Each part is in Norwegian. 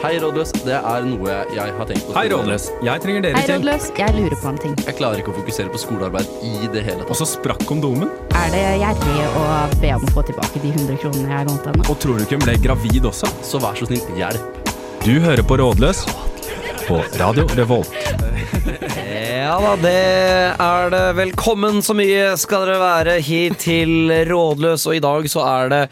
Hei, rådløs. Det er noe jeg har tenkt på. Hei, Rådløs. Jeg trenger dere Hei, til. rådløs. Jeg lurer på en ting. Jeg klarer ikke å fokusere på skolearbeid i det hele Og tatt. så sprakk kondomen. Er det gjerrig å be om å få tilbake de 100 kronene jeg lånte henne? Og tror du ikke hun ble gravid også? Så vær så snill, hjelp. Du hører på Rådløs på Radio Revolt. Ja da, det er det. Velkommen så mye skal dere være hit til Rådløs. Og i dag så er det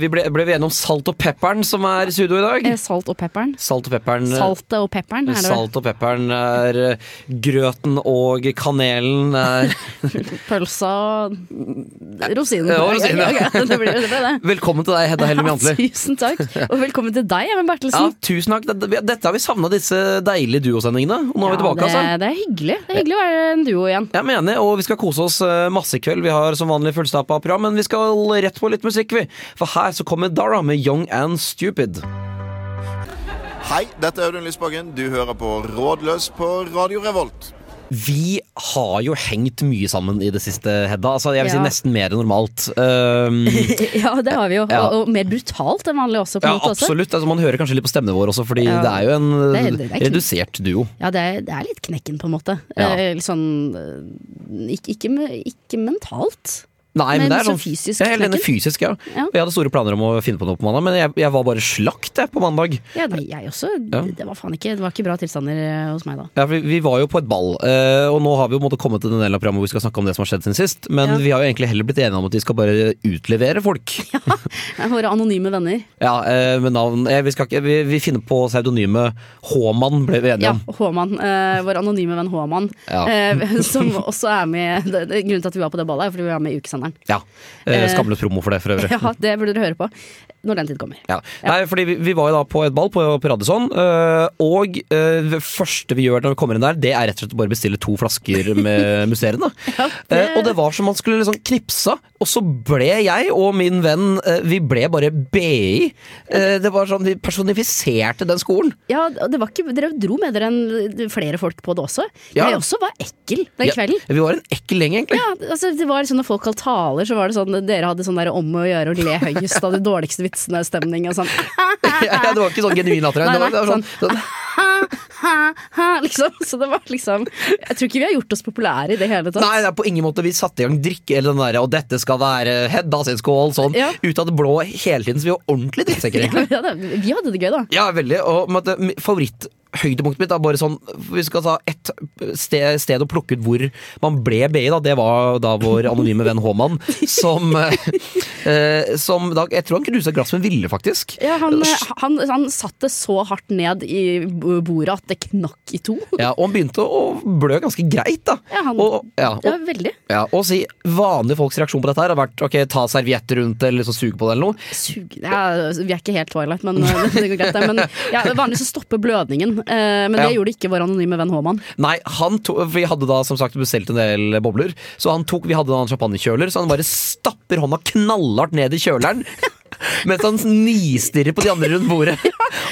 Vi ble, ble vi enige om Salt og Pepperen som er i studio i dag? Eh, Salt og pepperen. Salt og Pepperen. Saltet og pepperen, er det vel? Salt og pepperen er eh, grøten og kanelen er Pølsa og rosinen. Ja, rosinen, ja. Ok, ok, Det ble det. Ble det. Velkommen til deg, Hedda Hellum Jantli. Ja, tusen takk. Og velkommen til deg, Even Ja, Bertelsen. tusen takk. Dette dette har vi savna, disse deilige duosendingene. Og nå er vi tilbake, det, altså. det er hyggelig. Det er hyggelig å være en duo igjen. Jeg mener, og vi skal kose oss eh, masse i kveld. Vi har som vanlig fullstappa program, men vi skal rett på litt musikk, vi. For her så kommer Dara med Young and Stupid. Hei, dette er Audun Lysbakken. Du hører på Rådløs på Radio Revolt. Vi har jo hengt mye sammen i det siste, Hedda. Altså, jeg vil Ja. si nesten mer enn normalt. Um, Ja, det har vi jo. Ja. Og, og mer brutalt enn vanlig også, på ja, en måte. Også. absolutt. Altså, man hører kanskje litt på stemmene våre også, fordi Ja. det er jo en eh, Det er- det er ikke- redusert duo. Ja, det er, det er litt knekken, på en måte. Ja. Eh, litt sånn eh, ikke, ikke, me- ikke mentalt. Nei, Men men det er så sånn fysisk Ja, Helene, knekken. fysisk, ja. Ja. Jeg hadde store planer om å finne på noe på mandag, men jeg, jeg var bare slakt jeg, på mandag. Ja, nei, jeg også. Ja. Det var faen ikke Det var ikke bra tilstander eh, hos meg da. Ja, for vi var jo på et ball, eh, og nå har vi jo på en måte kommet til den delen av programmet hvor vi skal snakke om det som har skjedd siden sist. Ja. Men vi har jo egentlig heller blitt enige om at vi skal bare utlevere folk. Ja, Våre anonyme venner. eh, med navn eh, Vi, skal ikke, vi, vi finner på pseudonymet H-mann, ble vi enige Ja, om. Håman. eh, vår anonyme venn Håman. Ja. eh, som også er med det, det, Grunnen til at vi var på det ballet, er fordi vi var med i ukesenderen. Ja. Eh, Eh, skamløs promo for det, for øvrig. Ja, det burde dere høre på når den tid kommer. Ja. Nei, fordi vi, vi var jo da på et ball på, på Radisson, øh, og øh, det første vi gjør når vi kommer inn der, det er rett og slett å bare bestille to flasker med musserende. Eh, og det var som man skulle liksom knipsa, og så ble jeg og min venn eh, Vi ble bare BI. Eh, det var sånn, Vi personifiserte den skolen. Ja, og det var ikke, Dere dro med dere en, flere folk på det også. Ja. Jeg også var ekkel den kvelden. Ja, vi var en ekkel gjeng, egentlig. Ja, altså det var sånn Når folk holdt taler, så var det sånn dere hadde sånn der om å gjøre og le høyest av de dårligste vitsene-stemning. Og sånn Ja, det var ikke sånn genuin latter. Nei, Det var, det var nei, sånn, sånn, liksom. Så det var liksom Jeg tror ikke vi har gjort oss populære i det hele tatt. Nei, det er på ingen måte vi satte i gang drikke eller den der, og dette skal være Hedda sin skål, sånn. Ja. Ut av det blå hele tiden, så vi var ordentlig drittsekker, egentlig. Ja, det- vi hadde det gøy, da. Ja, veldig. Og med at, m- favoritthøydepunktet mitt er bare sånn Vi skal ta ett sted, sted å plukke ut hvor man ble BI, da. Det var da vår anonyme venn Håman, som, eh, eh, som da, Jeg tror han knuste et glass med ville, faktisk. Ja, han, han, han satt det så hardt ned i bo- bordet at det knakk i to. Ja, og han begynte å blø ganske greit, da. Ja, han- og, ja, Det og, var veldig. ja, og si vanlige folks reaksjon på dette her har vært ok, ta servietter rundt det, eller liksom suge på det, eller noe. Sug- Ja, vi er ikke helt Twilight, men øh, det går greit. det. Men ja, Vanligvis så stopper blødningen, eh, men det Ja. gjorde ikke vår anonyme venn Håman. Nei, han to, for vi hadde da som sagt bestilt en del bobler. Så han tok, vi hadde da en champagnekjøler, så han bare stapper hånda knallhardt ned i kjøleren. Mens han nistirrer på de andre rundt bordet.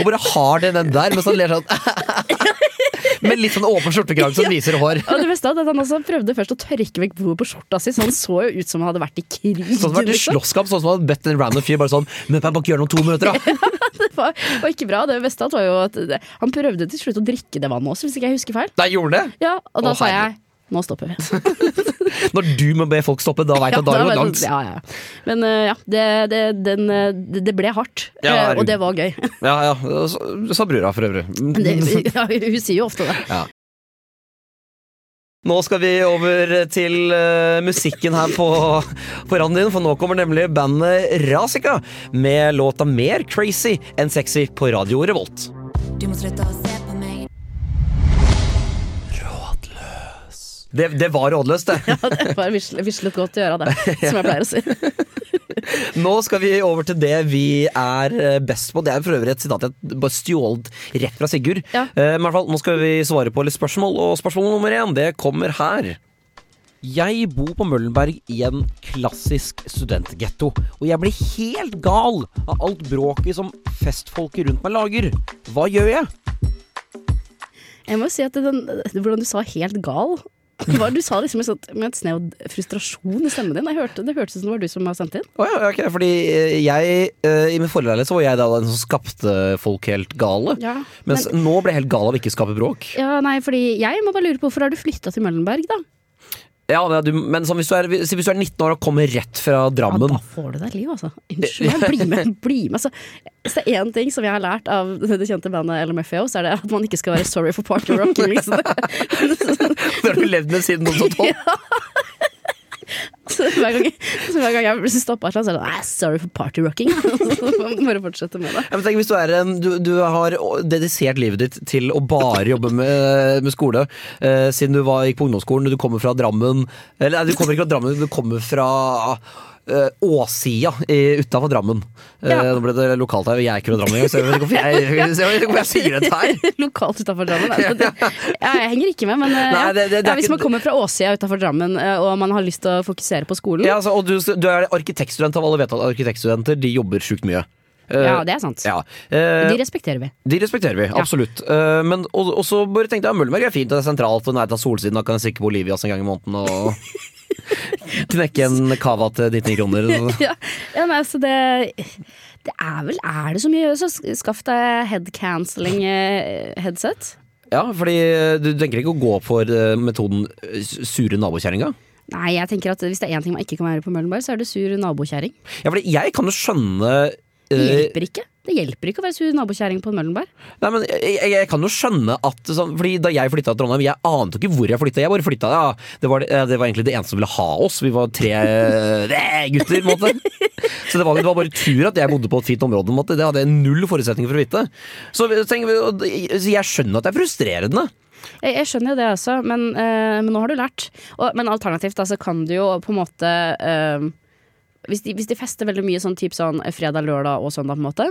Og bare har den den der, mens han ler sånn. Med litt sånn åpen skjortekrage som viser hår. Og det beste er at Han også prøvde først å tørke vekk blodet på skjorta si, så han så jo ut som han hadde vært i krig. Sånn som vært i liksom. slåsskamp, sånn som han hadde bedt en random fyr bare sånn Men jeg bare gjør det om to minutter, da. Det var, var ikke bra. Det beste var jo at det, han prøvde til slutt å drikke det vannet også, hvis ikke jeg husker feil. Nei, gjorde han det? Ja, Og da Å, sa herre. jeg nå stopper vi. Når du må be folk stoppe, da veit jeg at da da har det var gått det- langt. ja, ja. Men eh, ja, det, det, den, eh, det, det ble hardt. Ja, Eh, herregud. og det var gøy. Ja, ja, så- Sa brura, for øvrig. Men Det, ja, hun sier jo ofte det. Nå skal vi over til eh, musikken her på, på randen din, for nå kommer nemlig bandet Rasika med låta Mer crazy enn sexy på Radio Revolt. Du må slutte å se på meg. Det, det var rådløst, det. Ja, det var vislet vislet godt å gjøre det, som jeg pleier å si. Nå skal vi over til det vi er eh, best på. Det er for øvrig et sitat jeg bare stjålet rett fra Sigurd. Ja. Eh, Men i hvert fall, nå skal vi svare på litt spørsmål, og spørsmål nummer én det kommer her. Jeg bor på Møllenberg i en klassisk studentgetto, og jeg blir helt gal av alt bråket som festfolket rundt meg lager. Hva gjør jeg? Jeg må jo si at den, Hvordan du sa 'helt gal' Det var, du sa det liksom med, sånt, med et snev av frustrasjon i stemmen din. Jeg hørte, det hørtes ut som det var du som har sendt inn. Å ja, ok, fordi eh, jeg eh, I min forrige leilighet så var jeg da den som skapte folk helt gale. Ja, mens nå ble jeg helt gal av ikke å skape bråk. Ja, nei, fordi jeg må bare lure på hvorfor har du flytta til Møllenberg, da? Ja, men, du, men sånn, hvis, du er, hvis hvis du er 19 år og kommer rett fra Ja, Drammen da får du deg et liv, altså. Unnskyld meg, bli med. Bli med. Altså, hvis det er én ting som jeg har lært av det kjente bandet LMFAO, så er det at man ikke skal være sorry for party rocking. Liksom. Det har du levd med siden 2012. Så hver gang, så hver gang jeg blir stoppa, så er det sånn, "Æ, sorry for party rocking. Så Bare fortsette med det. Ja, men tenk hvis du, er en, du, du har dedisert livet ditt til å bare jobbe med, med skole eh, siden du var, gikk på ungdomsskolen, du kommer fra Drammen Eller nei, du kommer ikke fra Drammen, du kommer fra eh, Åsia eh, utafor Drammen. Eh, Ja. Nå ble det lokalt her, og jeg er ikke fra Drammen engang, så jeg vet ikke hvorfor jeg, så jeg, vet ikke hvorfor jeg sier dette her. Lokalt utafor Drammen. Altså, det, ja, jeg henger ikke med, men eh, Nei, det- det- det er ja, hvis ikke- man kommer fra Åsia utafor Drammen eh, og man har lyst til å fokusere på skolen, Ja, ja, altså, og du, du er arkitektstudent, og alle vet at arkitektstudenter de jobber sjukt mye. Eh, det er sant. ja. Eh, De respekterer vi. De respekterer vi, absolutt. Eh, men og, og så bare tenkte jeg at Møllenberg er fint, det er sentralt og nærheten av solsiden. Da kan jeg stikke på Olivias en gang i måneden og knekke en cava til 19 kroner. Ja, ja nei, så det Det er vel Er det så mye? Så skaff deg headcancelling eh, headset. Ja, fordi eh, du tenker ikke å gå for eh, metoden eh, sure nabokjerringa? Nei, jeg tenker at hvis det er én ting man ikke kan være på Møllenberg, så er det sur nabokjerring. Ja, fordi jeg kan jo skjønne eh, Det hjelper ikke. Det hjelper ikke å være sur nabokjerring på Møllenberg. Nei, men jeg, jeg- jeg kan jo skjønne at sånn, Fordi Da jeg flytta til Trondheim, jeg ante ikke hvor jeg flytta. Jeg bare flytta, ja. det, var, eh, det var egentlig det eneste som ville ha oss. Vi var tre eh, gutter. på en måte Så det var, det var bare tur at jeg bodde på et fint område. på en måte Det hadde jeg null forutsetninger for å vite. Så, vi- tenk, vi- og det- så jeg skjønner at det er frustrerende. Jeg, jeg skjønner jo det også, men, eh, men nå har du lært. Og, men alternativt da, så kan du jo på en måte eh, hvis, de, hvis de fester veldig mye sånn typ sånn fredag, lørdag og søndag, på en måte,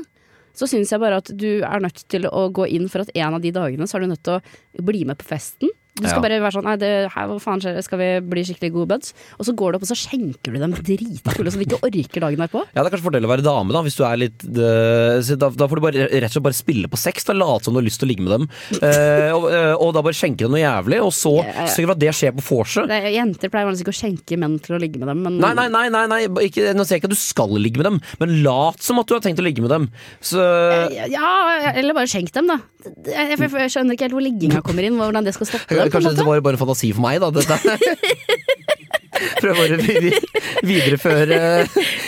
så syns jeg bare at du er nødt til å gå inn for at en av de dagene så er du nødt til å bli med på festen. Du skal Ja. bare være sånn Nei, det, her, hva faen skjer? Skal vi bli skikkelig gode buds? Og så går du opp og så skjenker du dem dritfulle så de ikke orker dagen derpå. Ja, Det er kanskje fordel å være dame, da. Hvis du er litt eh, så da, da får du bare, rett og slett bare spille på sex. Da Late som du har lyst til å ligge med dem. Eh, og, eh, og da bare skjenke dem noe jævlig. Og så Ja, ja. sørger du for at det skjer på vorset. Det, jenter pleier vanligvis ikke å skjenke menn til å ligge med dem, men Nei, nei, nei, nei, nei. ba- Ikke, nå sier jeg ikke at du skal ligge med dem, men lat som at du har tenkt å ligge med dem. Så, eh, Eh, Ja, eller bare skjenk dem, da. Jeg, jeg, jeg skjønner ikke helt hvor ligginga kommer inn. Hvordan det skal stoppe dem. på en kanskje dette måte. var bare en fantasi for meg, da. Dette. Prøv bare å vid- videreføre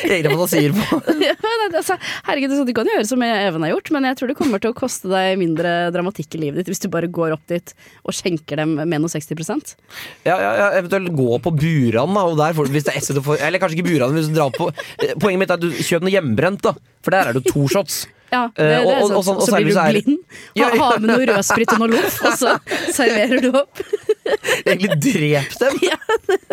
egne fantasier på Ja, nei, det- altså, herregud, det er sånn, Du kan jo gjøre som Even har gjort, men jeg tror det kommer til å koste deg mindre dramatikk i livet ditt hvis du bare går opp dit og skjenker dem med noe 60 Ja, ja, ja, Eventuelt gå på Buran, da. Og der får, hvis det er SC, du får, eller kanskje ikke Buran. men Hvis du drar på, eh, poenget mitt er at du kjøp noe hjemmebrent, da. For der er det jo to shots. Ja, det, Eh, det er og- sant. og sånn- og så blir særlig du så er- blind. Ha, Ja, ja. ha med noe rødsprit og noe loff, og så serverer du opp. Egentlig drep dem.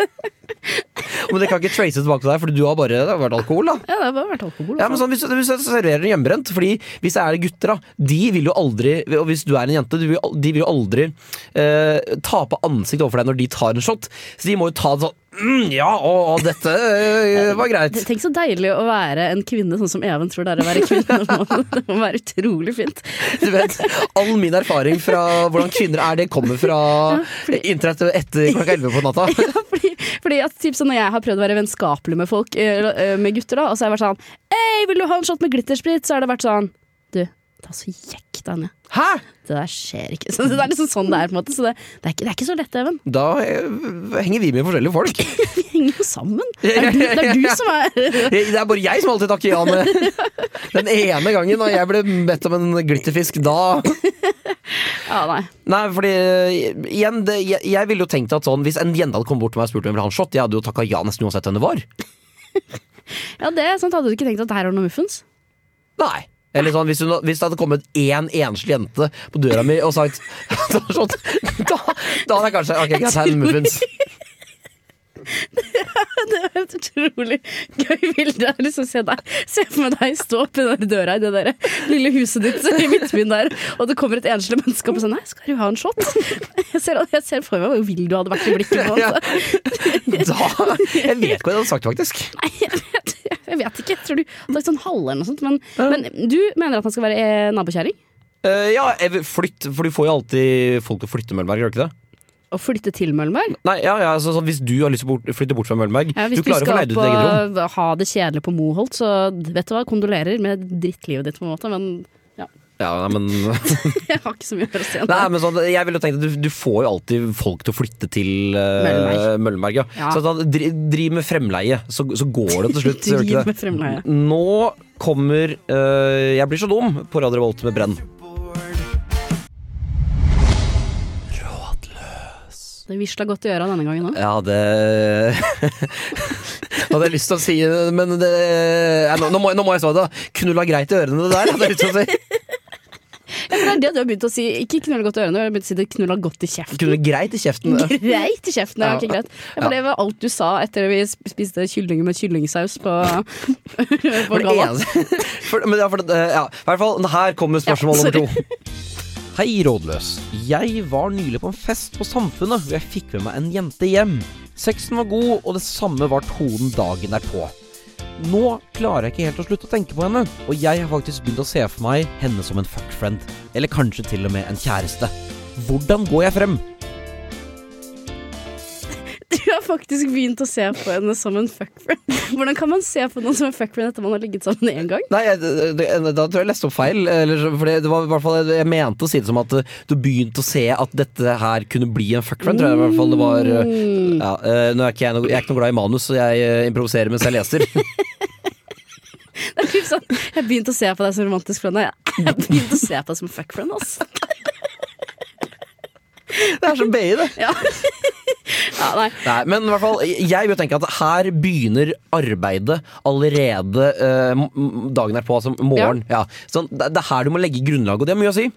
Men det kan ikke traces tilbake til deg, Fordi du har bare det har vært alkohol, da. Ja, det har bare vært alkohol. altså. Ja, men sånn, hvis, hvis jeg serverer en hjemmebrent Fordi hvis jeg er gutter da De vil jo aldri, og hvis du er en jente du vil, al- De vil jo aldri eh, tape ansikt overfor deg når de tar en shot Så de må jo ta det sånn mm, Ja, å, å, dette eh, var greit Tenk så deilig å være en kvinne, sånn som Even tror det er å være kvinne. Det må være utrolig fint. Du vet, all min erfaring fra hvordan kvinner er Det kommer fra internett etter klokka 11 på natta Fordi, fordi at typ sånn Når jeg har prøvd å være vennskapelig med folk eh, eh, Med gutter da Og så har jeg vært sånn Hei, vil du ha en shot med glittersprit? Så har det vært sånn Du, ta så jekk deg ned Hæ? Det der skjer ikke Så det er liksom sånn det er på en måte Så det, det, er, ikke, det er ikke så lett, Even Da eh, henger vi med forskjellige folk Vi henger jo sammen Det er du, det er du som er Det er bare jeg som alltid takker ja med Den ene gangen da jeg ble bedt om en glitterfisk Da Ja, nei Nei, fordi eh, igjen, det, jeg, jeg ville jo tenkt at sånn Hvis en jente hadde kommet bort til meg og spurt om jeg ville ha en shot, jeg hadde jo takka ja nesten uansett hvem det var. Ja, det er sant Hadde du ikke tenkt at her er noe muffens? Nei eller sånn, hvis, hun, hvis det hadde kommet én enslig jente på døra mi og sagt «Ta en shot», da, da hadde jeg kanskje Ok, greit, her er en muffins. Det er et utrolig gøy bilde Jeg har lyst til å se deg Se for meg deg stå opp i den der døra I det der lille huset ditt i midtbyen der Og det kommer et enslig menneske opp og sier Nei, skal du ha en shot? Jeg ser, jeg ser for meg hvor vill du hadde vært i blikket på Ja. han Da, jeg vet ikke hva jeg hadde sagt, faktisk. Nei, jeg vet, jeg vet ikke. Jeg tror du har sagt sånn halve eller noe sånt. Men, men du mener at han skal være eh, nabokjerring? Eh, ja, jeg vil- flytt, for du får jo alltid folk til å flytte, Møllenberg, gjør du ikke det? å flytte til Møllenberg. Nei, ja, ja, altså, så, så Hvis du har lyst til å bort, flytte bort fra Møllenberg Ja, Du hvis du, klarer å få skal leid ut på, ditt eget rom. ha det kjedelig på Moholt, så vet du hva, kondolerer med drittlivet ditt, på en måte, men ja, Ja, nei, men jeg har ikke så mye mer å si om det. Nei, men sånn, jeg ville tenkt at du, du får jo alltid folk til å flytte til eh, Møllenberg. Møllenberg. ja. Ja. Så sånn, dri, driv med fremleie, så, så går det til slutt. gjør det ikke Driv det? med fremleie. Nå kommer eh, Jeg blir så dum på Radio Revolt med Brenn. Det visla godt i øra denne gangen òg. Ja, det Hadde jeg lyst til å si men det Nei, nå, nå, må, jeg- nå må jeg svare det. da. Knulla greit i ørene, det der. Hadde jeg lyst til å si. Det er det du har begynt å si. Ikke knulla godt i ørene, du har begynt å si det knulla godt i kjeften. Knulla greit i kjeften. Greit i kjeften, ja. ok, greit. Ja, Ja. for det var alt du sa etter vi sp- spiste kylling med kyllingsaus på, på For det galla. eneste for, Men ja, for det, ja, i hvert fall Her kommer spørsmål Ja, nummer to Hei Rådløs Jeg var nylig på en fest på samfunnet Hvor jeg fikk med meg en jente hjem Sexen var god Og det samme var tonen dagen derpå Nå klarer jeg ikke helt å slutte å tenke på henne Og jeg har faktisk begynt å se for meg Henne som en fuckfriend Eller kanskje til og med en kjæreste Hvordan går jeg frem? Du har faktisk begynt å se på henne som en fuckfriend. Hvordan kan man se på noen som en fuckfriend etter man har ligget sammen én gang? Nei, jeg- det, det, da tror jeg jeg leste opp feil. Eller, så- for det, det var i hvert fall, jeg mente å si det som at eh, du begynte å se at dette her kunne bli en fuckfriend. Tror jeg, i hvert fall det var eh, ja, eh, nå er ikke jeg, noe, jeg er ikke noe glad i manus, så jeg eh, improviserer mens jeg leser. Det er typ sånn, Jeg begynte å se på deg som romantisk friend. og Jeg begynte å se på deg som en fuckfriend, ass. det er så BI, det. Ja. ja, nei. Nei, men i hvert fall, jeg vil tenke at her begynner arbeidet allerede eh, m- m- dagen derpå, altså morgen. Ja. Sånn, det, det er her du må legge grunnlaget, og det har mye å si.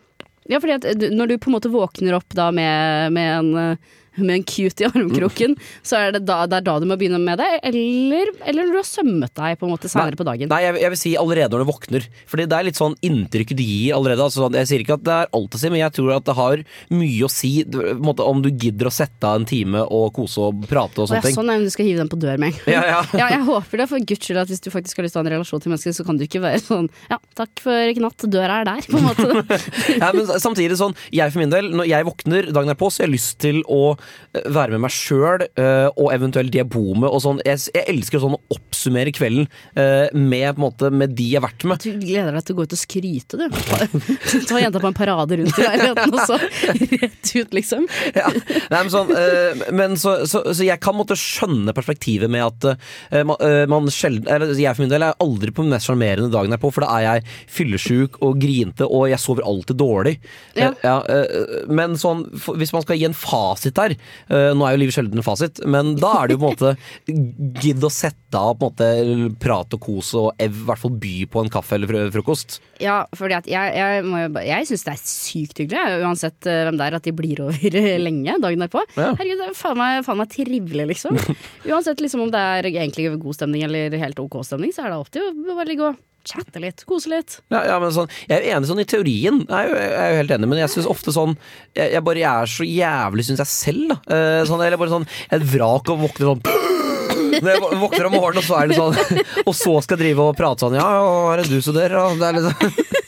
Ja, fordi at eh, du, når du på en måte våkner opp da med, med, en, eh, med en cute i armkroken, så er det da, det er da du må begynne med det, eller, eller når du har sømmet deg på en måte senere på dagen. Nei, jeg, jeg vil si allerede når du våkner. Fordi det er litt sånn inntrykk du gir allerede. Altså, sånn, jeg sier ikke at det er alt å si, men jeg tror at det har mye å si du- på en måte, om du gidder å sette av en time og kose og prate Å, og ja, sånne ting. sånn er det, du skal hive den på dør med en gang. Ja, ja. Ja, jeg håper det, for guds skyld at hvis du faktisk har lyst til å ha en relasjon til mennesker, så kan du ikke være sånn ja, takk for i natt, døra er der, på en måte. ja, men samtidig sånn, jeg for min del, når jeg våkner dagen derpå, så har jeg lyst til å eh, være med meg sjøl, eh, og eventuelt de jeg bor med, og sånn. Jeg, s- jeg elsker sånn å oppsummere kvelden eh, med, på en måte, med de jeg har vært med. Du gleder deg til å gå ut og skryte, du. Ta jenta på en parade rundt i leiligheten, og så rett ut, liksom. ja. Nei, men sånn, eh, men så, så, så jeg kan måtte skjønne perspektivet med at eh, man, eh, man sjelden Eller jeg for min del er aldri på den mest sjarmerende dagen derpå, for da er jeg fyllesjuk og grinte, og jeg sover alltid dårlig. Ja. Eh, ja, eh, men sånn, for, hvis man skal gi en fasit der eh, Nå er jo livet sjelden en fasit, men da er det jo på en måte gidd å sette av på en måte prat og kos, og ev, i hvert fall by på en kaffe eller fro- frokost. Ja, fordi at jeg, jeg, må jo ba- jeg syns det er sykt hyggelig, jeg, uansett eh, hvem det er, at de blir over lenge dagen derpå. Ja. Herregud, det er faen meg, faen meg trivelig, liksom. Uansett liksom, om det er egentlig god stemning eller helt ok stemning, så er det alltid å bare ligge og chatte litt, kose litt. Ja, ja, men sånn, jeg er jo enig sånn i teorien, jeg er jo, jeg er jo helt enig, men jeg syns ofte sånn jeg, jeg bare jeg er så jævlig, syns jeg selv, da. Eh, sånn, eller bare sånn jeg er et vrak og våkner sånn Når jeg vå- våkner om morgenen, og så er det sånn Og så skal jeg drive og prate sånn Ja, hva er det du studerer, da? Det er litt sånn-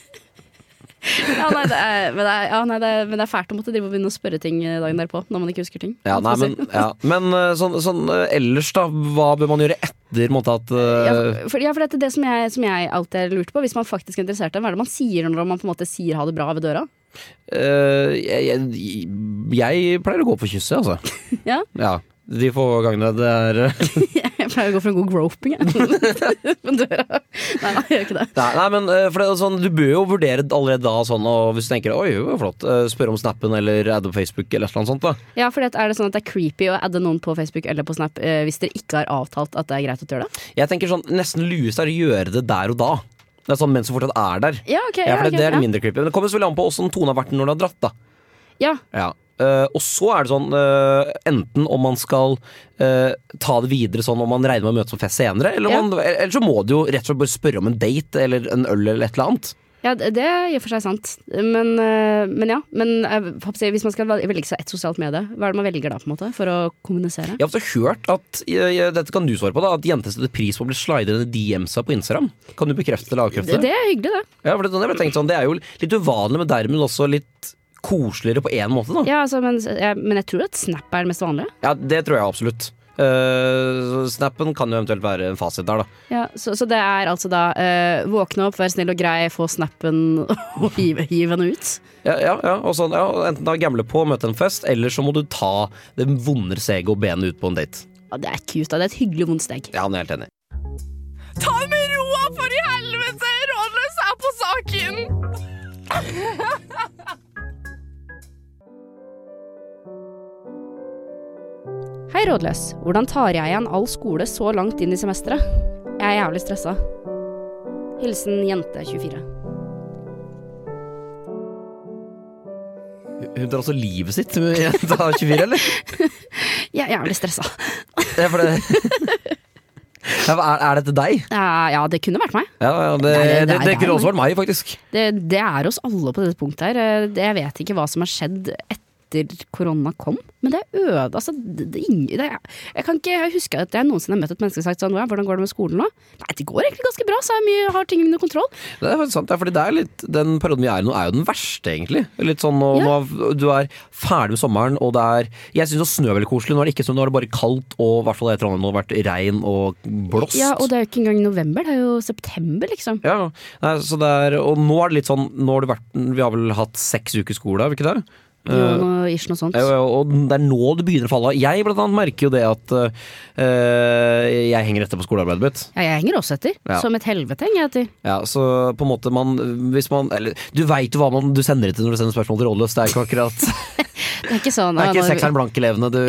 Ja, nei, det er, men, det er, ja, nei, det er, men det er fælt å måtte drive og begynne å spørre ting eh, dagen derpå, når man ikke husker ting. Ja, nei, men, ja. men eh, sånn, sånn eh, ellers, da. Hva bør man gjøre etter på en måte at Ja, eh, for, ja, for dette, er det som jeg, som jeg alltid har lurt på, hvis man faktisk er interessert i det, hva er det man sier når man på en måte sier ha det bra ved døra? eh, jeg, jeg, jeg pleier å gå for kysset, altså. Ja. ja. De få gangene det er eh, Jeg pleier å gå for en god groping, jeg. På døra. Nei, nei, jeg gjør ikke det. Nei, nei men eh, for det, er sånn, Du bør jo vurdere allerede da, sånn, og hvis du tenker Oi, det var flott, eh, spørre om snappen eller adde på Facebook eller noe sånt. da Ja, for er det sånn at det er creepy å adde noen på Facebook eller på Snap eh, hvis dere ikke har avtalt at det er greit å gjøre det? Jeg tenker sånn, Nesten luest er å gjøre det der og da. Det er sånn Mens du fortsatt er der. Ja, ok. Ja, for det, ok, det er ja. mindre creepy. Men det kommer selvfølgelig an på åssen tonen har vært når du har dratt. da Ja, Ja. Eh, og så er det sånn, eh, enten om man skal eh, ta det videre sånn om man regner med å møtes på fest senere, eller, om Ja. man, e, eller så må du jo rett og slett bare spørre om en date eller en øl eller et eller annet. ja, det det er i og for seg sant. Men, eh, men ja. Men jeg håper å si, hvis man skal vel- velge seg ett sosialt medie, hva er det man velger da, på en måte, for å kommunisere? Jeg har også hørt at eh, dette kan du svare på da, at jenter setter pris på å bli slidet i DMs-a på Instagram. Kan du bekrefte eller avkrefte Det, det? det er hyggelig, det. Ja, for det, er sånn jeg ble tenkt sånn, det er jo litt uvanlig, men dermed også litt koseligere på én måte, da. Ja, altså, men, jeg, men jeg tror at Snap er det mest vanlige. Ja, det tror jeg absolutt. Eh, så snappen kan jo eventuelt være en fasit der, da. Ja, så, så det er altså da eh, våkne opp, vær snill og grei, få snappen og hiv, hiv henne ut. Ja, ja, ja, og sånn, ja, Enten da gamble på, møte en fest, eller så må du ta det vondere steget og benet ut på en date. Ja, det er cute, da. Det er et hyggelig vondt steg. Ja, men jeg er helt enig. Ta med roa, for i helvete! Rådløs er på saken! Hei, rådløs. Hvordan tar jeg igjen all skole så langt inn i semesteret? Jeg er jævlig stressa. Hilsen jente 24. Hun tar altså livet sitt, jenta 24, eller? Jeg er jævlig stressa. Ja, for det ja, hva er, er dette deg? Ja, ja, det kunne vært meg. Ja, ja, det, Nei, det er det, det, deg, kunne også vært meg, faktisk. Det, det er oss alle på dette punktet her. Eh, det- Jeg vet ikke hva som har skjedd etter korona kom, men det er øde. Altså, det, det, er ingen- det, er- jeg kan ikke huske at jeg noensinne har møtt et menneske og sagt sånn «Ja, Hvordan går det med skolen nå? Nei, det går egentlig ganske bra, så jeg har mye- har ting under kontroll. Det er faktisk sant, ja, fordi det er litt, Den perioden vi er i nå, er jo den verste, egentlig. Litt sånn nå, nå er- Du er ferdig med sommeren, og det er Jeg syns snø er veldig koselig. Nå er det ikke snø, nå er det bare kaldt, og i hvert fall i Trondheim nå har det vært regn og blåst. Ja, Og det er jo ikke engang november, det er jo september, liksom. Ja, nei, så det er, og nå er det litt sånn nå har det vært, Vi har vel hatt seks uker skole, har vi ikke det? Jo, noe, ish, noe sånt. Ja, ja, Og det er nå det begynner å falle av. Jeg blant annet merker jo det at eh, jeg henger etter på skolearbeidet mitt. Ja, jeg henger også etter. Ja. Som et helvete henger jeg etter. Ja, så på en måte man, hvis man eller, Du veit jo hva man du sender etter når du sender spørsmål til Rådløs. Det er ikke akkurat Det er ikke sånn Det er «Å, ikke nå- sekseren blank-elevene du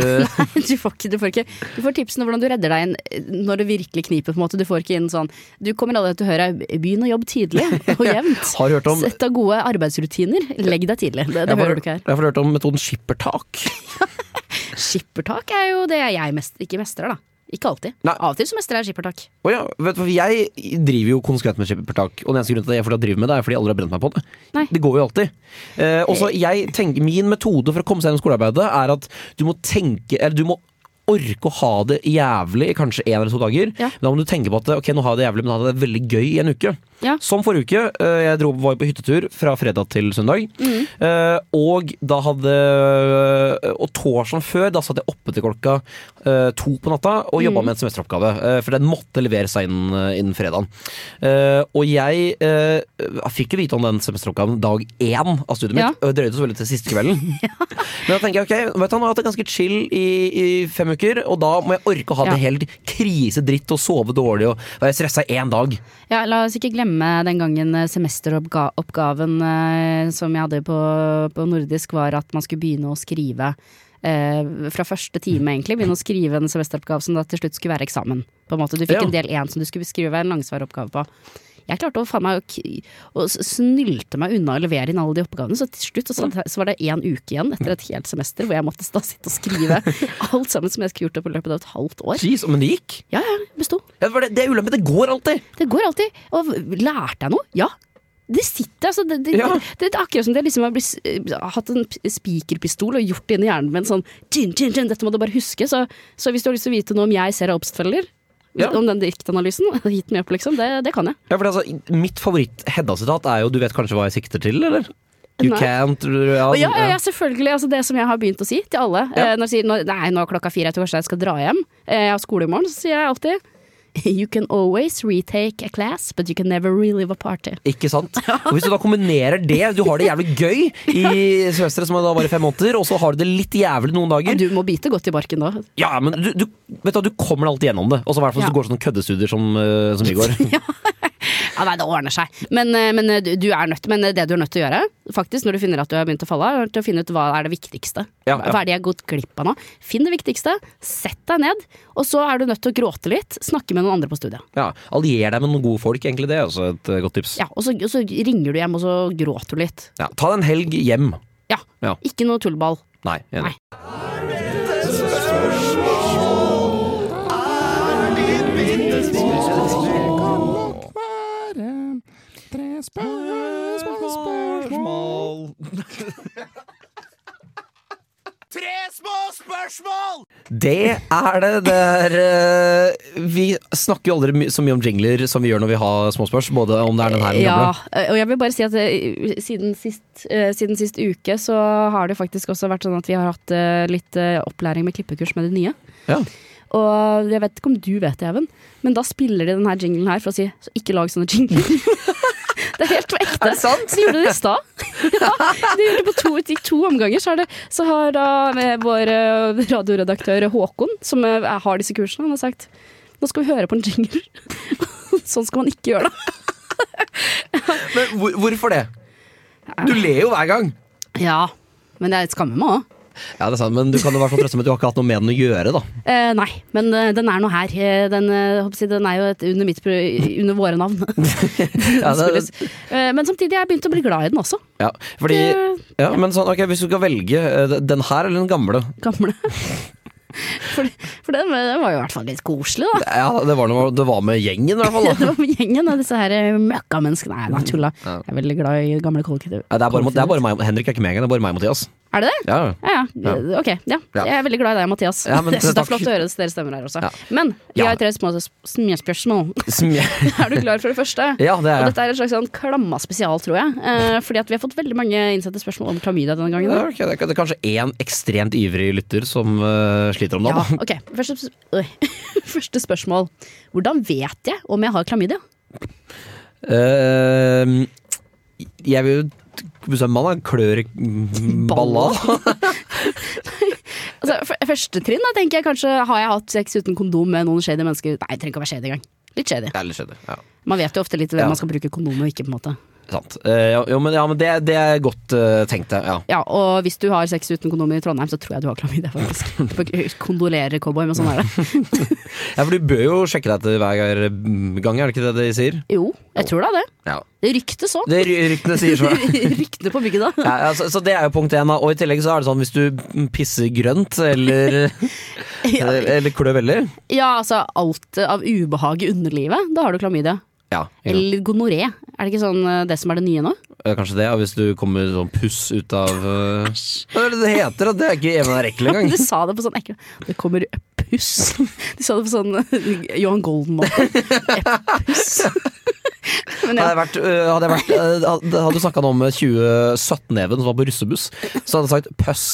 du, får ikke, du, får ikke, du får tipsene hvordan du redder deg inn når det virkelig kniper. på en måte Du får ikke inn sånn Du kommer allerede til å høre begynn å jobbe tidlig og jevnt. har hørt om. Sett deg gode arbeidsrutiner. Legg deg tidlig. Det, det jeg har hører du ikke jeg her. har hørt om metoden skippertak. Skippertak er jo det jeg mest, ikke mestrer, da. Ikke alltid. Nei. Av og til så mestrer jeg skippertak. Å ja, vet du, hva, jeg driver jo konsekvent med skippertak, og den eneste grunnen til at jeg fortsatt driver med det, er fordi jeg aldri har brent meg på det. Nei. Det går jo alltid. Eh, og så jeg tenker, Min metode for å komme seg gjennom skolearbeidet er at du må tenke Eller du må orke å ha det jævlig i kanskje én eller to dager. Ja. Da må du tenke på at ok, nå har jeg det jævlig, men nå har jeg det veldig gøy i en uke. Ja. Som forrige uke. eh, Jeg dro, var jo på hyttetur fra fredag til søndag. Mm. Eh, Og da hadde eh, Og torsdagen før, da satt jeg oppe til klokka eh, to på natta og Mm. jobba med en semesteroppgave. eh, For den måtte leveres seg innen, innen fredagen. Eh, Og jeg, eh, jeg fikk jo vite om den semesteroppgaven dag én av studiet mitt. Ja. Og det drøyde så veldig til siste kvelden. Men da tenker jeg, ok, vet du, han har hatt det ganske chill i, i fem uker, og da må jeg orke å ha Ja. det helt krisedritt og sove dårlig og være stressa én dag. Ja, la oss ikke glemme den gangen eh, semesteroppgaven eh, som jeg hadde på, på nordisk, var at man skulle begynne å skrive eh, fra første time, egentlig. Begynne å skrive en semesteroppgave som da til slutt skulle være eksamen. På en måte. Du fikk Ja. en del én som du skulle beskrive en langsvar oppgave på. Jeg klarte å faen meg å k- å s- snylte meg unna å levere inn alle de oppgavene, så til slutt så, satt- så var det én uke igjen etter et helt semester hvor jeg måtte da sitte og skrive alt sammen som jeg skulle gjort opp i løpet av et halvt år. Jeez, men det gikk. Ja, ja, besto. Ja, for det, det er ulempen, det går alltid. Det går alltid. Og lærte jeg noe? Ja. Det sitter, altså. Det, det, Ja. det, det er akkurat som det liksom har blitt, s- hatt en p- spikerpistol og gjort det inn i hjernen min sånn tjin, tjin, tjin, Dette må du bare huske. Så, så hvis du har lyst til å vite noe om jeg ser obstfeller, Ja. om den diktanalysen, hit meg opp, liksom. Det, det kan jeg. Ja, for det, er altså, mitt favoritt-Hedda-sitat er jo 'du vet kanskje hva jeg sikter til', eller? You Nei. can't Og ja, ja, ja, selvfølgelig. Altså det som jeg har begynt å si til alle. Ja. Eh, når jeg sier nå- nei, nå er klokka fire, jeg tror kanskje jeg skal dra hjem. Eh, jeg har skole i morgen, så sier jeg alltid You can always retake a class, but you can never relive a party. Ikke sant? Og Hvis du da kombinerer det, du har det jævlig gøy i semesteret som er da bare fem måneder, og så har du det litt jævlig noen dager. Du må bite godt i barken da. Ja, men du, du, vet du, hva, du kommer deg alltid gjennom det. Og så i hvert fall hvis Ja. du går sånne køddestudier som, eh, som vi går. Ja, nei, det ordner seg. Men, eh, men eh, du du er nødt, men eh, det du er nødt til å gjøre, faktisk, når du finner at du har begynt å falle, er til å finne ut hva er det viktigste. Ja, ja. Hva er det jeg har gått glipp av nå? Finn det viktigste, sett deg ned, og så er du nødt til å gråte litt, snakke med noen andre på studiet. Ja, Allier deg med noen gode folk, egentlig. Det er også et eh, godt tips. Ja. Ja, og så, og så ringer du hjem, og så gråter du litt. Ta deg en helg hjem. Ja. Ja. Ikke noe tullball. Nei, enig. Nei. Tre små spørsmål! Det er det. det er, eh, vi snakker jo aldri my så mye om jingler som vi gjør når vi har småspørs. Både om det er den her eller den Ja, gamle. og jeg vil bare si at eh, siden sist, eh, siden sist uke så har det faktisk også vært sånn at vi har hatt eh, litt eh, opplæring med klippekurs med de nye. Ja. Og jeg vet ikke om du vet det, Even, men da spiller de denne jinglen her for å si så ikke lag sånne jingler. Det er helt på ekte. Er det sant? De gjorde det i stad. Ja, de gjorde det på to, i to omganger. Så, er det, så har da eh, vår eh, radioredaktør Håkon, som eh, har disse kursene, han har sagt nå skal vi høre på en jingle. Sånn skal man ikke gjøre det. Men hvor, hvorfor det? Du ler jo hver gang. Ja, men jeg skammer meg òg. Ja, det er sant, Men du kan jo i hvert fall trøste med at du har ikke hatt noe med den å gjøre. da Eh, nei, men eh, den er nå her. Eh, Den, eh, håper jeg å si, den er jo et, under, mitt, pro- under våre navn. ja, det, Spilles. eh, men samtidig, jeg begynte å bli glad i den også. ja, fordi, Det- ja, men sånn, ok, Hvis du skal velge eh, den her eller den gamle Gamle. For, for den, var- den var jo i hvert fall litt koselig, da. Ja, Det var, noe, det var med gjengen, i hvert fall. Det da var med gjengen og disse her eh, møkkamenneskene. Nei, da tulla. Jeg er veldig glad i gamle kollektiv. Ja, det, er bare, mot- det er bare meg, Henrik er ikke med engang. Det er bare meg og Mathias. Er det det? Ja, Ja, ja. Ok. Ja. Ja. Jeg er veldig glad i deg, Mathias. Ja, men jeg synes det er takk. flott å høre deres stemmer her også. Ja. Men vi Ja. har tre små små spørsmål. Som jeg- Er du klar for det første? ja det er Og jeg. dette er et slags sånn klamma spesial, tror jeg. Eh, fordi at vi har fått veldig mange innsendte spørsmål om klamydia denne gangen. Ja, ok, det, er, det er kanskje én ekstremt ivrig lytter som eh, sliter om Ja, dagen. ok. Første, sp- Oi. Første spørsmål. Hvordan vet jeg om jeg har klamydia? Ja. Ehm, jeg vil jo Hvis en mann er klør i balla Altså, f- første trinn da, tenker jeg kanskje har jeg hatt sex uten kondom med noen shady mennesker. Nei, det trenger ikke å være shady engang. Litt shady. Eller skjedde. Ja. Man vet jo ofte litt hvem Ja. man skal bruke kondom og ikke. på en måte Sant. Eh, ja, jo, men, ja, men det, det er godt eh, tenkt, det. Ja. Ja, Og hvis du har sex uten kondom i Trondheim, så tror jeg du har klamydia, faktisk. Kondolerer, cowboy, men sånn er det. ja, for du bør jo sjekke deg etter hver gang, er det ikke det de sier? Jo, jeg tror da det. Ja. Det ryktes sånn. Det ry- ryktene sier så. Ryktene på bygget, da. Ja, ja, så, så det er jo punkt én. da. Og i tillegg så er det sånn hvis du pisser grønt eller, Ja, eller klør veldig Ja, altså alt av ubehag i underlivet. Da har du klamydia. Ja, ikke sant. Eller gonoré. Er det ikke sånn eh, det som er det nye nå? Eh, Kanskje det, ja, hvis du kommer sånn puss ut av eh, Hva er det det heter? da? Det er ikke Even er ekkel engang. Du sa det på sånn ekkel Det kommer puss. Du sa det på sånn eh, Johan Golden-måte. Puss. Men Hadde ja, jeg vært, eh, hadde jeg vært, eh, hadde- hadde du snakka nå om 2017-Even som var på russebuss, så hadde jeg sagt pøss.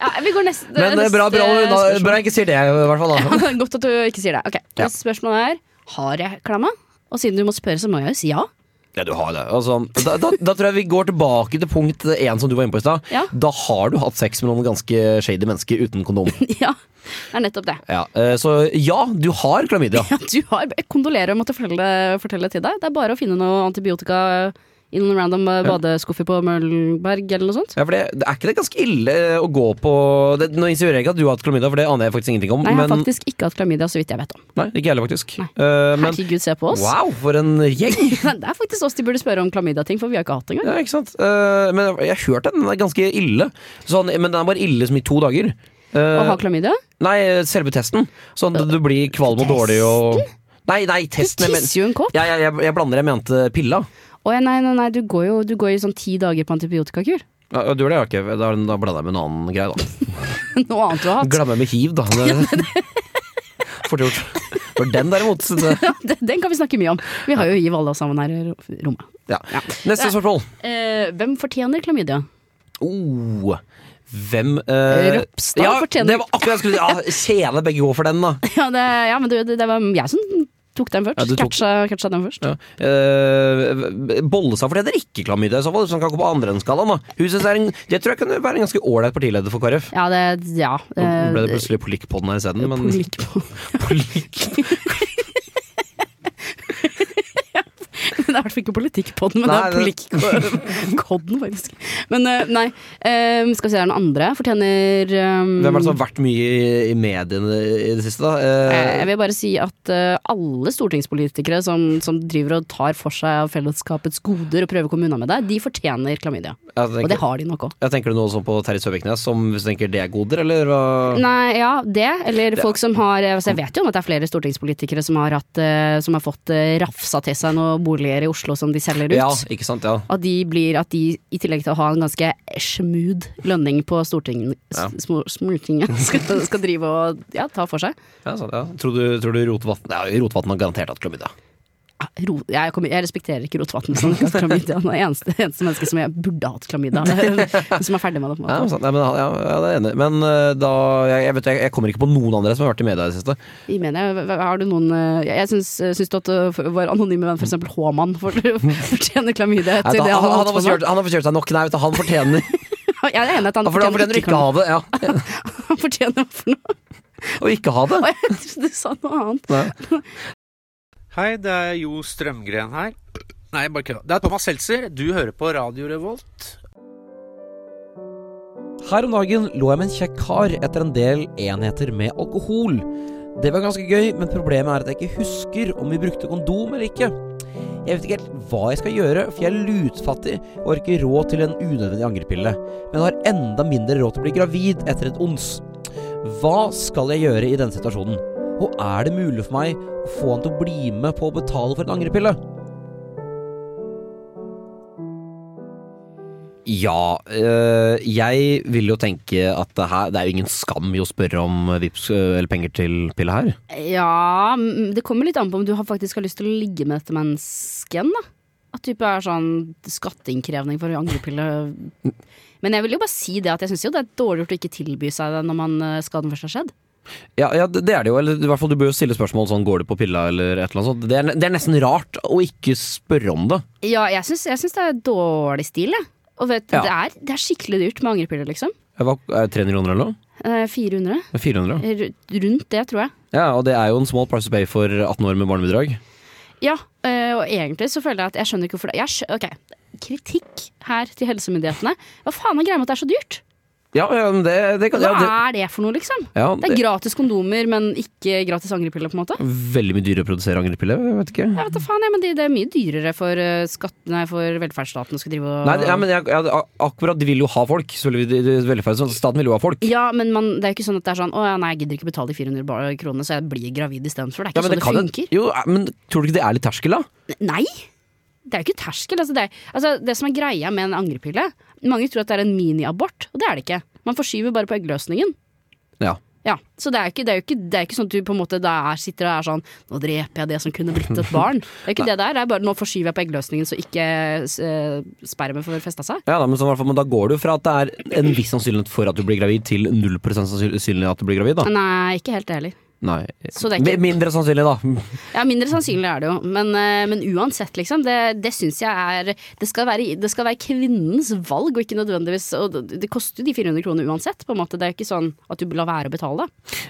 ja, vi går neste. Men eh, bra, bra, neste bra, spørsmål. bra jeg ikke sier det, i hvert fall. da Ja, Godt at du ikke sier det. Ok, Ja. Neste spørsmål er Har jeg klamma? Og siden du må spørre, så må jeg jo si ja. Ja, du har det. Altså, da, da, da tror jeg vi går tilbake til punkt én som du var inne på i stad. Ja. Da har du hatt sex med noen ganske shady mennesker uten kondom. Ja, det er nettopp det. Ja, eh, så ja, du har klamydia. Ja, du har Jeg kondolerer om å fortelle, fortelle til deg. Det er bare å finne noe antibiotika i noen random eh, badeskuffer på Møllenberg eller noe sånt. Ja, for det, det Er ikke det ganske ille å gå på det, Nå insinuerer jeg ikke at du har hatt klamydia, for det aner jeg faktisk ingenting om. Nei, jeg har men, faktisk ikke hatt klamydia, så vidt jeg vet om. nei ikke jeg heller, faktisk. Nei. Eh, men Herregud, se på oss. wow, for en gjeng! Det er faktisk oss de burde spørre om klamydia-ting, for vi har ikke hatt det engang. Ja, ikke sant? Eh, men jeg har hørt at den er ganske ille. Sånn, men den er bare ille som i to dager. Å Eh, ha Øh, klamydia? nei, selve testen. Sånn at du blir kvalm og dårlig og Nei, nei, testen jeg men- Tisser jo en kopp? Ja, ja, jeg, jeg blander, jeg mente pilla. Å ja, nei, nei, nei, du går jo du går jo sånn ti dager på antibiotikakur. Ja, du gjør det, ja, ok. Da, da blander jeg med en annen greie, da. Noe annet du har hatt. Glemmer med hiv, da. Det- Fort gjort. For den, derimot. Det, Den- Den kan vi snakke mye om. Vi har jo hiv alle sammen her i ro- rommet. ja. Neste spørsmål. Eh, hvem fortjener klamydia? Oh. Hvem eh, Ropstad ja, fortjener- Det var akkurat jeg skulle ja, Kjele begge går for den, da. Ja, det, ja men du, det, det var jeg som tok den først. Ja, du tok- catcha, catcha den først. Ja. Eh, Bollestad fortjener ikke klamydia, i så fall. Hvis han kan gå på andre enn skalaen, da. Hun synes det er en, jeg tror jeg kunne være en ganske ålreit partileder for KrF. Ja, det Ja. Nå ble det eh, plutselig polikk på den her isteden, men Polikk på Polikk. Det er i hvert fall ikke politikk på den, men Nei, det er det- politikk-kodden, faktisk. Men eh, nei, eh, skal vi se, er det noen andre? Fortjener eh, Hvem er det som har vært mye i- i mediene i det siste, da? eh, Eh, Jeg vil bare si at eh, alle stortingspolitikere som, som driver og tar for seg av fellesskapets goder og prøver å komme unna med det, de fortjener klamydia. Eh, jeg Og tenker- det har de nok òg. Jeg tenker du noe sånn på Terje Søviknes, som hvis du tenker det er goder, eller hva? Nei, ja, det. Eller folk som har altså Jeg vet jo om at det er flere stortingspolitikere som har, hatt, eh, som har fått eh, rafsa til seg noen boliger i Oslo som de selger ut. Ja, ikke sant, ja. At de, blir, at de i tillegg til å ha en en ganske smooth lønning på Stortinget, Ja. s- smo- Stortinget skal, skal drive og ja, ta for seg. Ja, sant, ja. Tror du, tror du Rotevatn ja, Rotevatn har garantert hatt klamydia. Ja, ro, jeg, kommer, jeg respekterer ikke Rotevatn som ikke har hatt klamydia. Han er det eneste, eneste mennesket som jeg burde hatt klamydia, som er ferdig med det. på en Ja, måte. sant, ja, men, han- ja, ja, det er enig. Men eh, da jeg, jeg, vet, jeg, jeg kommer ikke på noen andre som har vært i media i det siste. Jeg mener, hva- hva- har du noen eh, Jeg, jeg syns, syns du at eh, for- vår anonyme venn, f.eks. Haamann, for- fortjener klamydia? Nei, Til da, det han, han, holdt har fått på kjørt, med? han har fått kjørt seg nok. Nei, vet du, han fortjener, Jeg er enig i at han han fortjener, fortjener ikke å ha det. Ja. Han fortjener hva for noe? Og ikke ha det. Jeg trodde du sa noe annet. Nei. Hei, det er Jo Strømgren her. Nei, bare kødda. Det er Thomas Seltzer. Du hører på Radio Revolt. Her om dagen lå jeg med en kjekk kar etter en del enheter med alkohol. Det var ganske gøy, men problemet er at jeg ikke husker om vi brukte kondom eller ikke. Jeg vet ikke helt hva jeg skal gjøre, for jeg er lutfattig og har ikke råd til en unødvendig angrepille. Men har enda mindre råd til å bli gravid etter et ons. Hva skal jeg gjøre i denne situasjonen? Og er det mulig for meg å få han til å bli med på å betale for en angrepille? Ja, øh, jeg vil jo tenke at det, her, det er jo ingen skam i å spørre om vips øh, eller penger til pille her. Ja, mm, det kommer litt an på om du har faktisk har lyst til å ligge med dette mennesket, da. At type er sånn skatteinnkrevning for angrepille. Men jeg vil jo bare si det at jeg syns jo det er dårlig gjort å ikke tilby seg det når man eh, skaden først har skjedd. Ja, ja, det det er det jo. Eller i hvert fall du bør jo stille spørsmål sånn går du på pilla eller et eller annet sånt. Det er, ne- det er nesten rart å ikke spørre om det. Ja, jeg syns, jeg syns det er dårlig stil, jeg. Og vet, Ja. det, er, det er skikkelig dyrt med angrepiller, liksom. Hva, er det 300 kroner eller noe? Eh, 400. 400? Ru- Rundt det, tror jeg. Ja, og det er jo en small price to pay for 18 år med barnebidrag. Ja, eh, og egentlig så føler jeg at jeg skjønner ikke hvorfor det jeg skjø ok. Kritikk her til helsemyndighetene. Hva faen er greia med at det er så dyrt? Ja, ja, men det, det kan Hva ja, det, er det for noe, liksom? ja, Det er det, gratis kondomer, men ikke gratis angrepiller, på en måte. Veldig mye dyrere å produsere angrepiller, jeg vet ikke. Jeg vet da faen, jeg, men det, det er mye dyrere for, eh, skatt, nei, for velferdsstaten å skulle drive og Nei, ja, men jeg, jeg, ak- akkurat, de vil jo ha folk. selvfølgelig, de- de- velferds- Staten vil jo ha folk. Ja, men man, det er jo ikke sånn at det er sånn Å ja, nei, jeg gidder ikke betale de 400 bar- kronene, så jeg blir gravid istedenfor. Det er Ja, ikke men det sånn kan det, jo- funker. Jo, eh, men tror du ikke det er litt terskel, da? Nei! Det er jo ikke terskel. Altså det, er, altså det som er greia med en angrepille Mange tror at det er en miniabort, og det er det ikke. Man forskyver bare på eggløsningen. Ja. Ja, Så det er jo ikke, det er jo ikke, det er ikke sånn at du på en måte da er, sitter og er sånn Nå dreper jeg det som kunne blitt et barn. Det er ikke det der. Det er bare nå forskyver jeg på eggløsningen så ikke eh, spermen får festa seg. Ja, da, men, så, i hvert fall- men da går det jo fra at det er en viss sannsynlighet for at du blir gravid, til 0 sannsynlig- sannsynlighet at du blir gravid, da. Nei, eh, ikke helt det heller. Nei. Så det er ikke- Mi- Mindre sannsynlig, da. Ja, Mindre sannsynlig er det jo, men, eh, men uansett, liksom. Det, det syns jeg er det skal, være, det skal være kvinnens valg, og ikke nødvendigvis Og det, det koster jo de 400 kronene uansett, på en måte. Det er jo ikke sånn at du lar være å betale.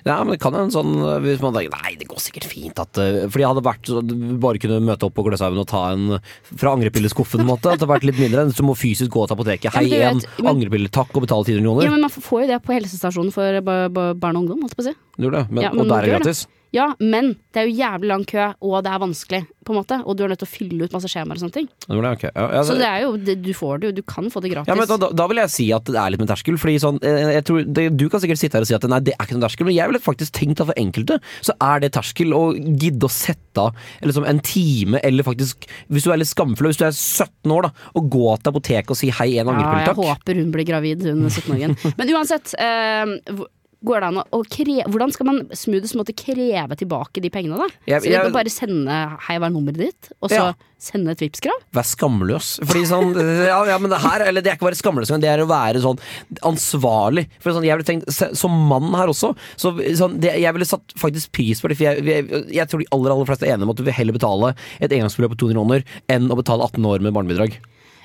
Ja, men det kan jo en sånn eh, hvis man tenker, Nei, det går sikkert fint at eh, Fordi jeg hadde vært så- du bare kunne møte opp på Gløshaugen og ta en eh, fra angrepilleskuffen, på en måte. At det hadde vært litt mindre enn så må fysisk gå til apoteket. Ja, men Hei du igjen, vet- men- angrepiller, takk, og betale 1000 Ja, kroner. men man får jo det på helsestasjonen for ba- ba- barn og ungdom, holdt jeg på å si. Du gjør det, men, Ja, men og der er du det gjør det. gratis. Ja, men det er jo jævlig lang kø, og det er vanskelig, på en måte. Og du er nødt til å fylle ut masse skjemaer og sånne ting. Du gjør det, ok. Ja, ja, Så det er jo, det, du får det jo, du kan få det gratis. Altså, Ja, men da, da- da vil jeg si at det er litt med terskel. Fordi sånn, eh, jeg tror, det, Du kan sikkert sitte her og si at nei, det er ikke noen terskel, men jeg ville faktisk tenkt at for enkelte så er det terskel å gidde å sette av eller sånn en time, eller faktisk, hvis du er litt skamfull, hvis du er 17 år, da, å gå til apoteket og si hei, ja, en jeg angrepille, takk. håper hun blir gravid, hun 17-åringen. men uansett, eh, hvor- går det an å å kre hvordan skal man smoothies måtte kreve tilbake de pengene, da? Jeg- så de jeg- kan bare sende 'hei, hva er nummeret ditt?' og så Ja. sende et Vipps-krav? Vær skamløs. Fordi sånn, ja, ja, men det her, eller det er ikke å være skamløs, men det er å være sånn ansvarlig. For sånn, jeg ville tenkt, se- Som mann her også, så sånn, det, jeg ville satt faktisk pris på det. For jeg, jeg, jeg tror de aller aller fleste er enige om at du vil heller betale et engangsbeløp på 200 kroner enn å betale 18 år med barnebidrag.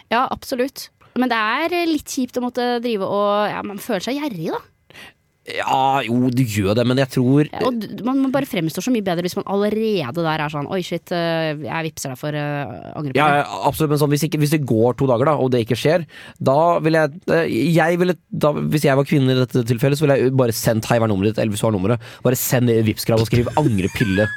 Ja, absolutt. Men det er litt kjipt å måtte drive og ja, Man føler seg gjerrig, da. Ja, jo, du gjør det, men jeg tror Ja, og d- man man bare fremstår så mye bedre hvis man allerede der er sånn Oi, shit, eh, jeg vippser deg for eh, angrepille. Ja, ja, absolutt, men sånn, hvis, ikke, hvis det går to dager da, og det ikke skjer, da ville jeg, eh, jeg ville, da, Hvis jeg var kvinne i dette tilfellet, så ville jeg bare sendt 'hei, hva er nummeret ditt?' eller hvis du har nummeret, bare send Vipps-krav og skriv 'angre pille'.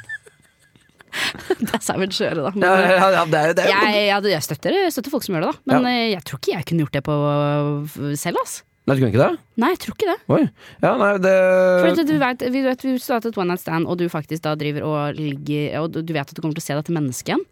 Det er savage å gjøre, da. Men, eh, Ja, ja, ja, det er, jo- det er, Jeg, jo- ja, jeg støtter, støtter folk som gjør det, da. Men eh, jeg tror ikke jeg kunne gjort det på øh, selv, ass. Nei, du kunne ikke det? Nei, jeg tror ikke det. Oi. Ja, nei, For at det du vet, vi vet, hvis du har hatt et one night stand, og du faktisk da driver og ligger Og du- du vet at du kommer til å se dette mennesket igjen.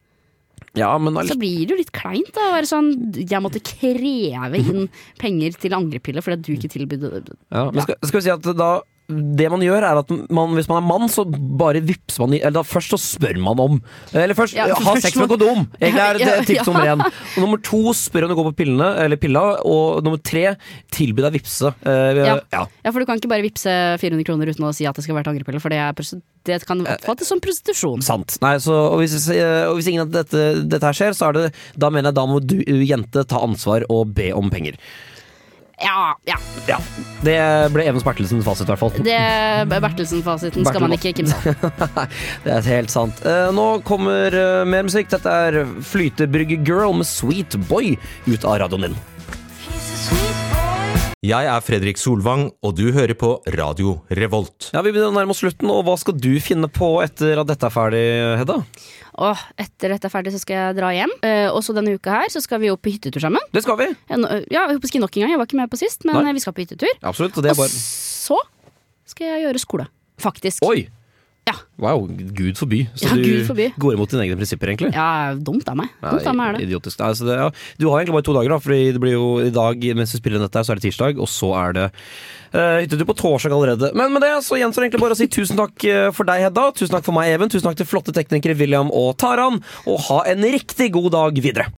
Ja, men Så blir det jo litt kleint da, å være sånn Jeg måtte kreve inn penger til angrepiller fordi at du ikke tilbød Ja, men skal, skal vi si at da det man gjør er at man, Hvis man er mann, så bare vipser man i Eller da først så spør man om. Eller først Ja, ha først sex med må- kondom! Egentlig er det Ja, tips ja. nummer én. Og nummer to spør om du går på pillene eller pilla. Og nummer tre tilby deg vipse. Eh, Ja. ja. Ja, for du kan ikke bare vippse 400 kroner uten å si at det skal være til angrepiller, for det, er, prosti- det kan oppfattes som prostitusjon. Sant. Nei, så, og, hvis, eh, og hvis ingen av dette, dette her skjer, så er det Da mener jeg da må du, eh, jente, ta ansvar og be om penger. Ja, ja. Ja. Det ble Even Spartelsens fasit, i hvert fall. Det Bertelsen-fasiten skal man ikke kimse av. Det er helt sant. Eh, nå kommer eh, mer musikk. Dette er Flytebrygge Girl med Sweet Boy ut av radioen din. Jeg er Fredrik Solvang, og du hører på Radio Revolt. Ja, Vi begynner å nærme oss slutten, og hva skal du finne på etter at dette er ferdig, Hedda? Åh, etter dette er ferdig, så skal jeg dra hjem. Eh, også denne uka her så skal vi opp på hyttetur sammen. Det skal vi. Ja, nå- eh, ja, jeg håper ikke nok en gang. Jeg var ikke med på sist, men Nei. eh, vi skal på hyttetur. Absolutt. Og det er Og bare så skal jeg gjøre skole. Faktisk. Oi! Ja. Wow, gud forby. Så Ja, du Gud forby. går imot dine egne prinsipper, egentlig? Ja, dumt av meg. Dumt av meg er det. Idiotisk. Nei, så det, ja. Du har egentlig bare to dager, da, Fordi det blir jo i dag mens vi spiller dette, her, så er det tirsdag, og så er det eh, hyttetur på torsdag allerede. Men med det så gjenstår det egentlig bare å si tusen takk eh, for deg, Hedda. Tusen takk for meg, Even. Tusen takk til flotte teknikere William og Taran. Og ha en riktig god dag videre.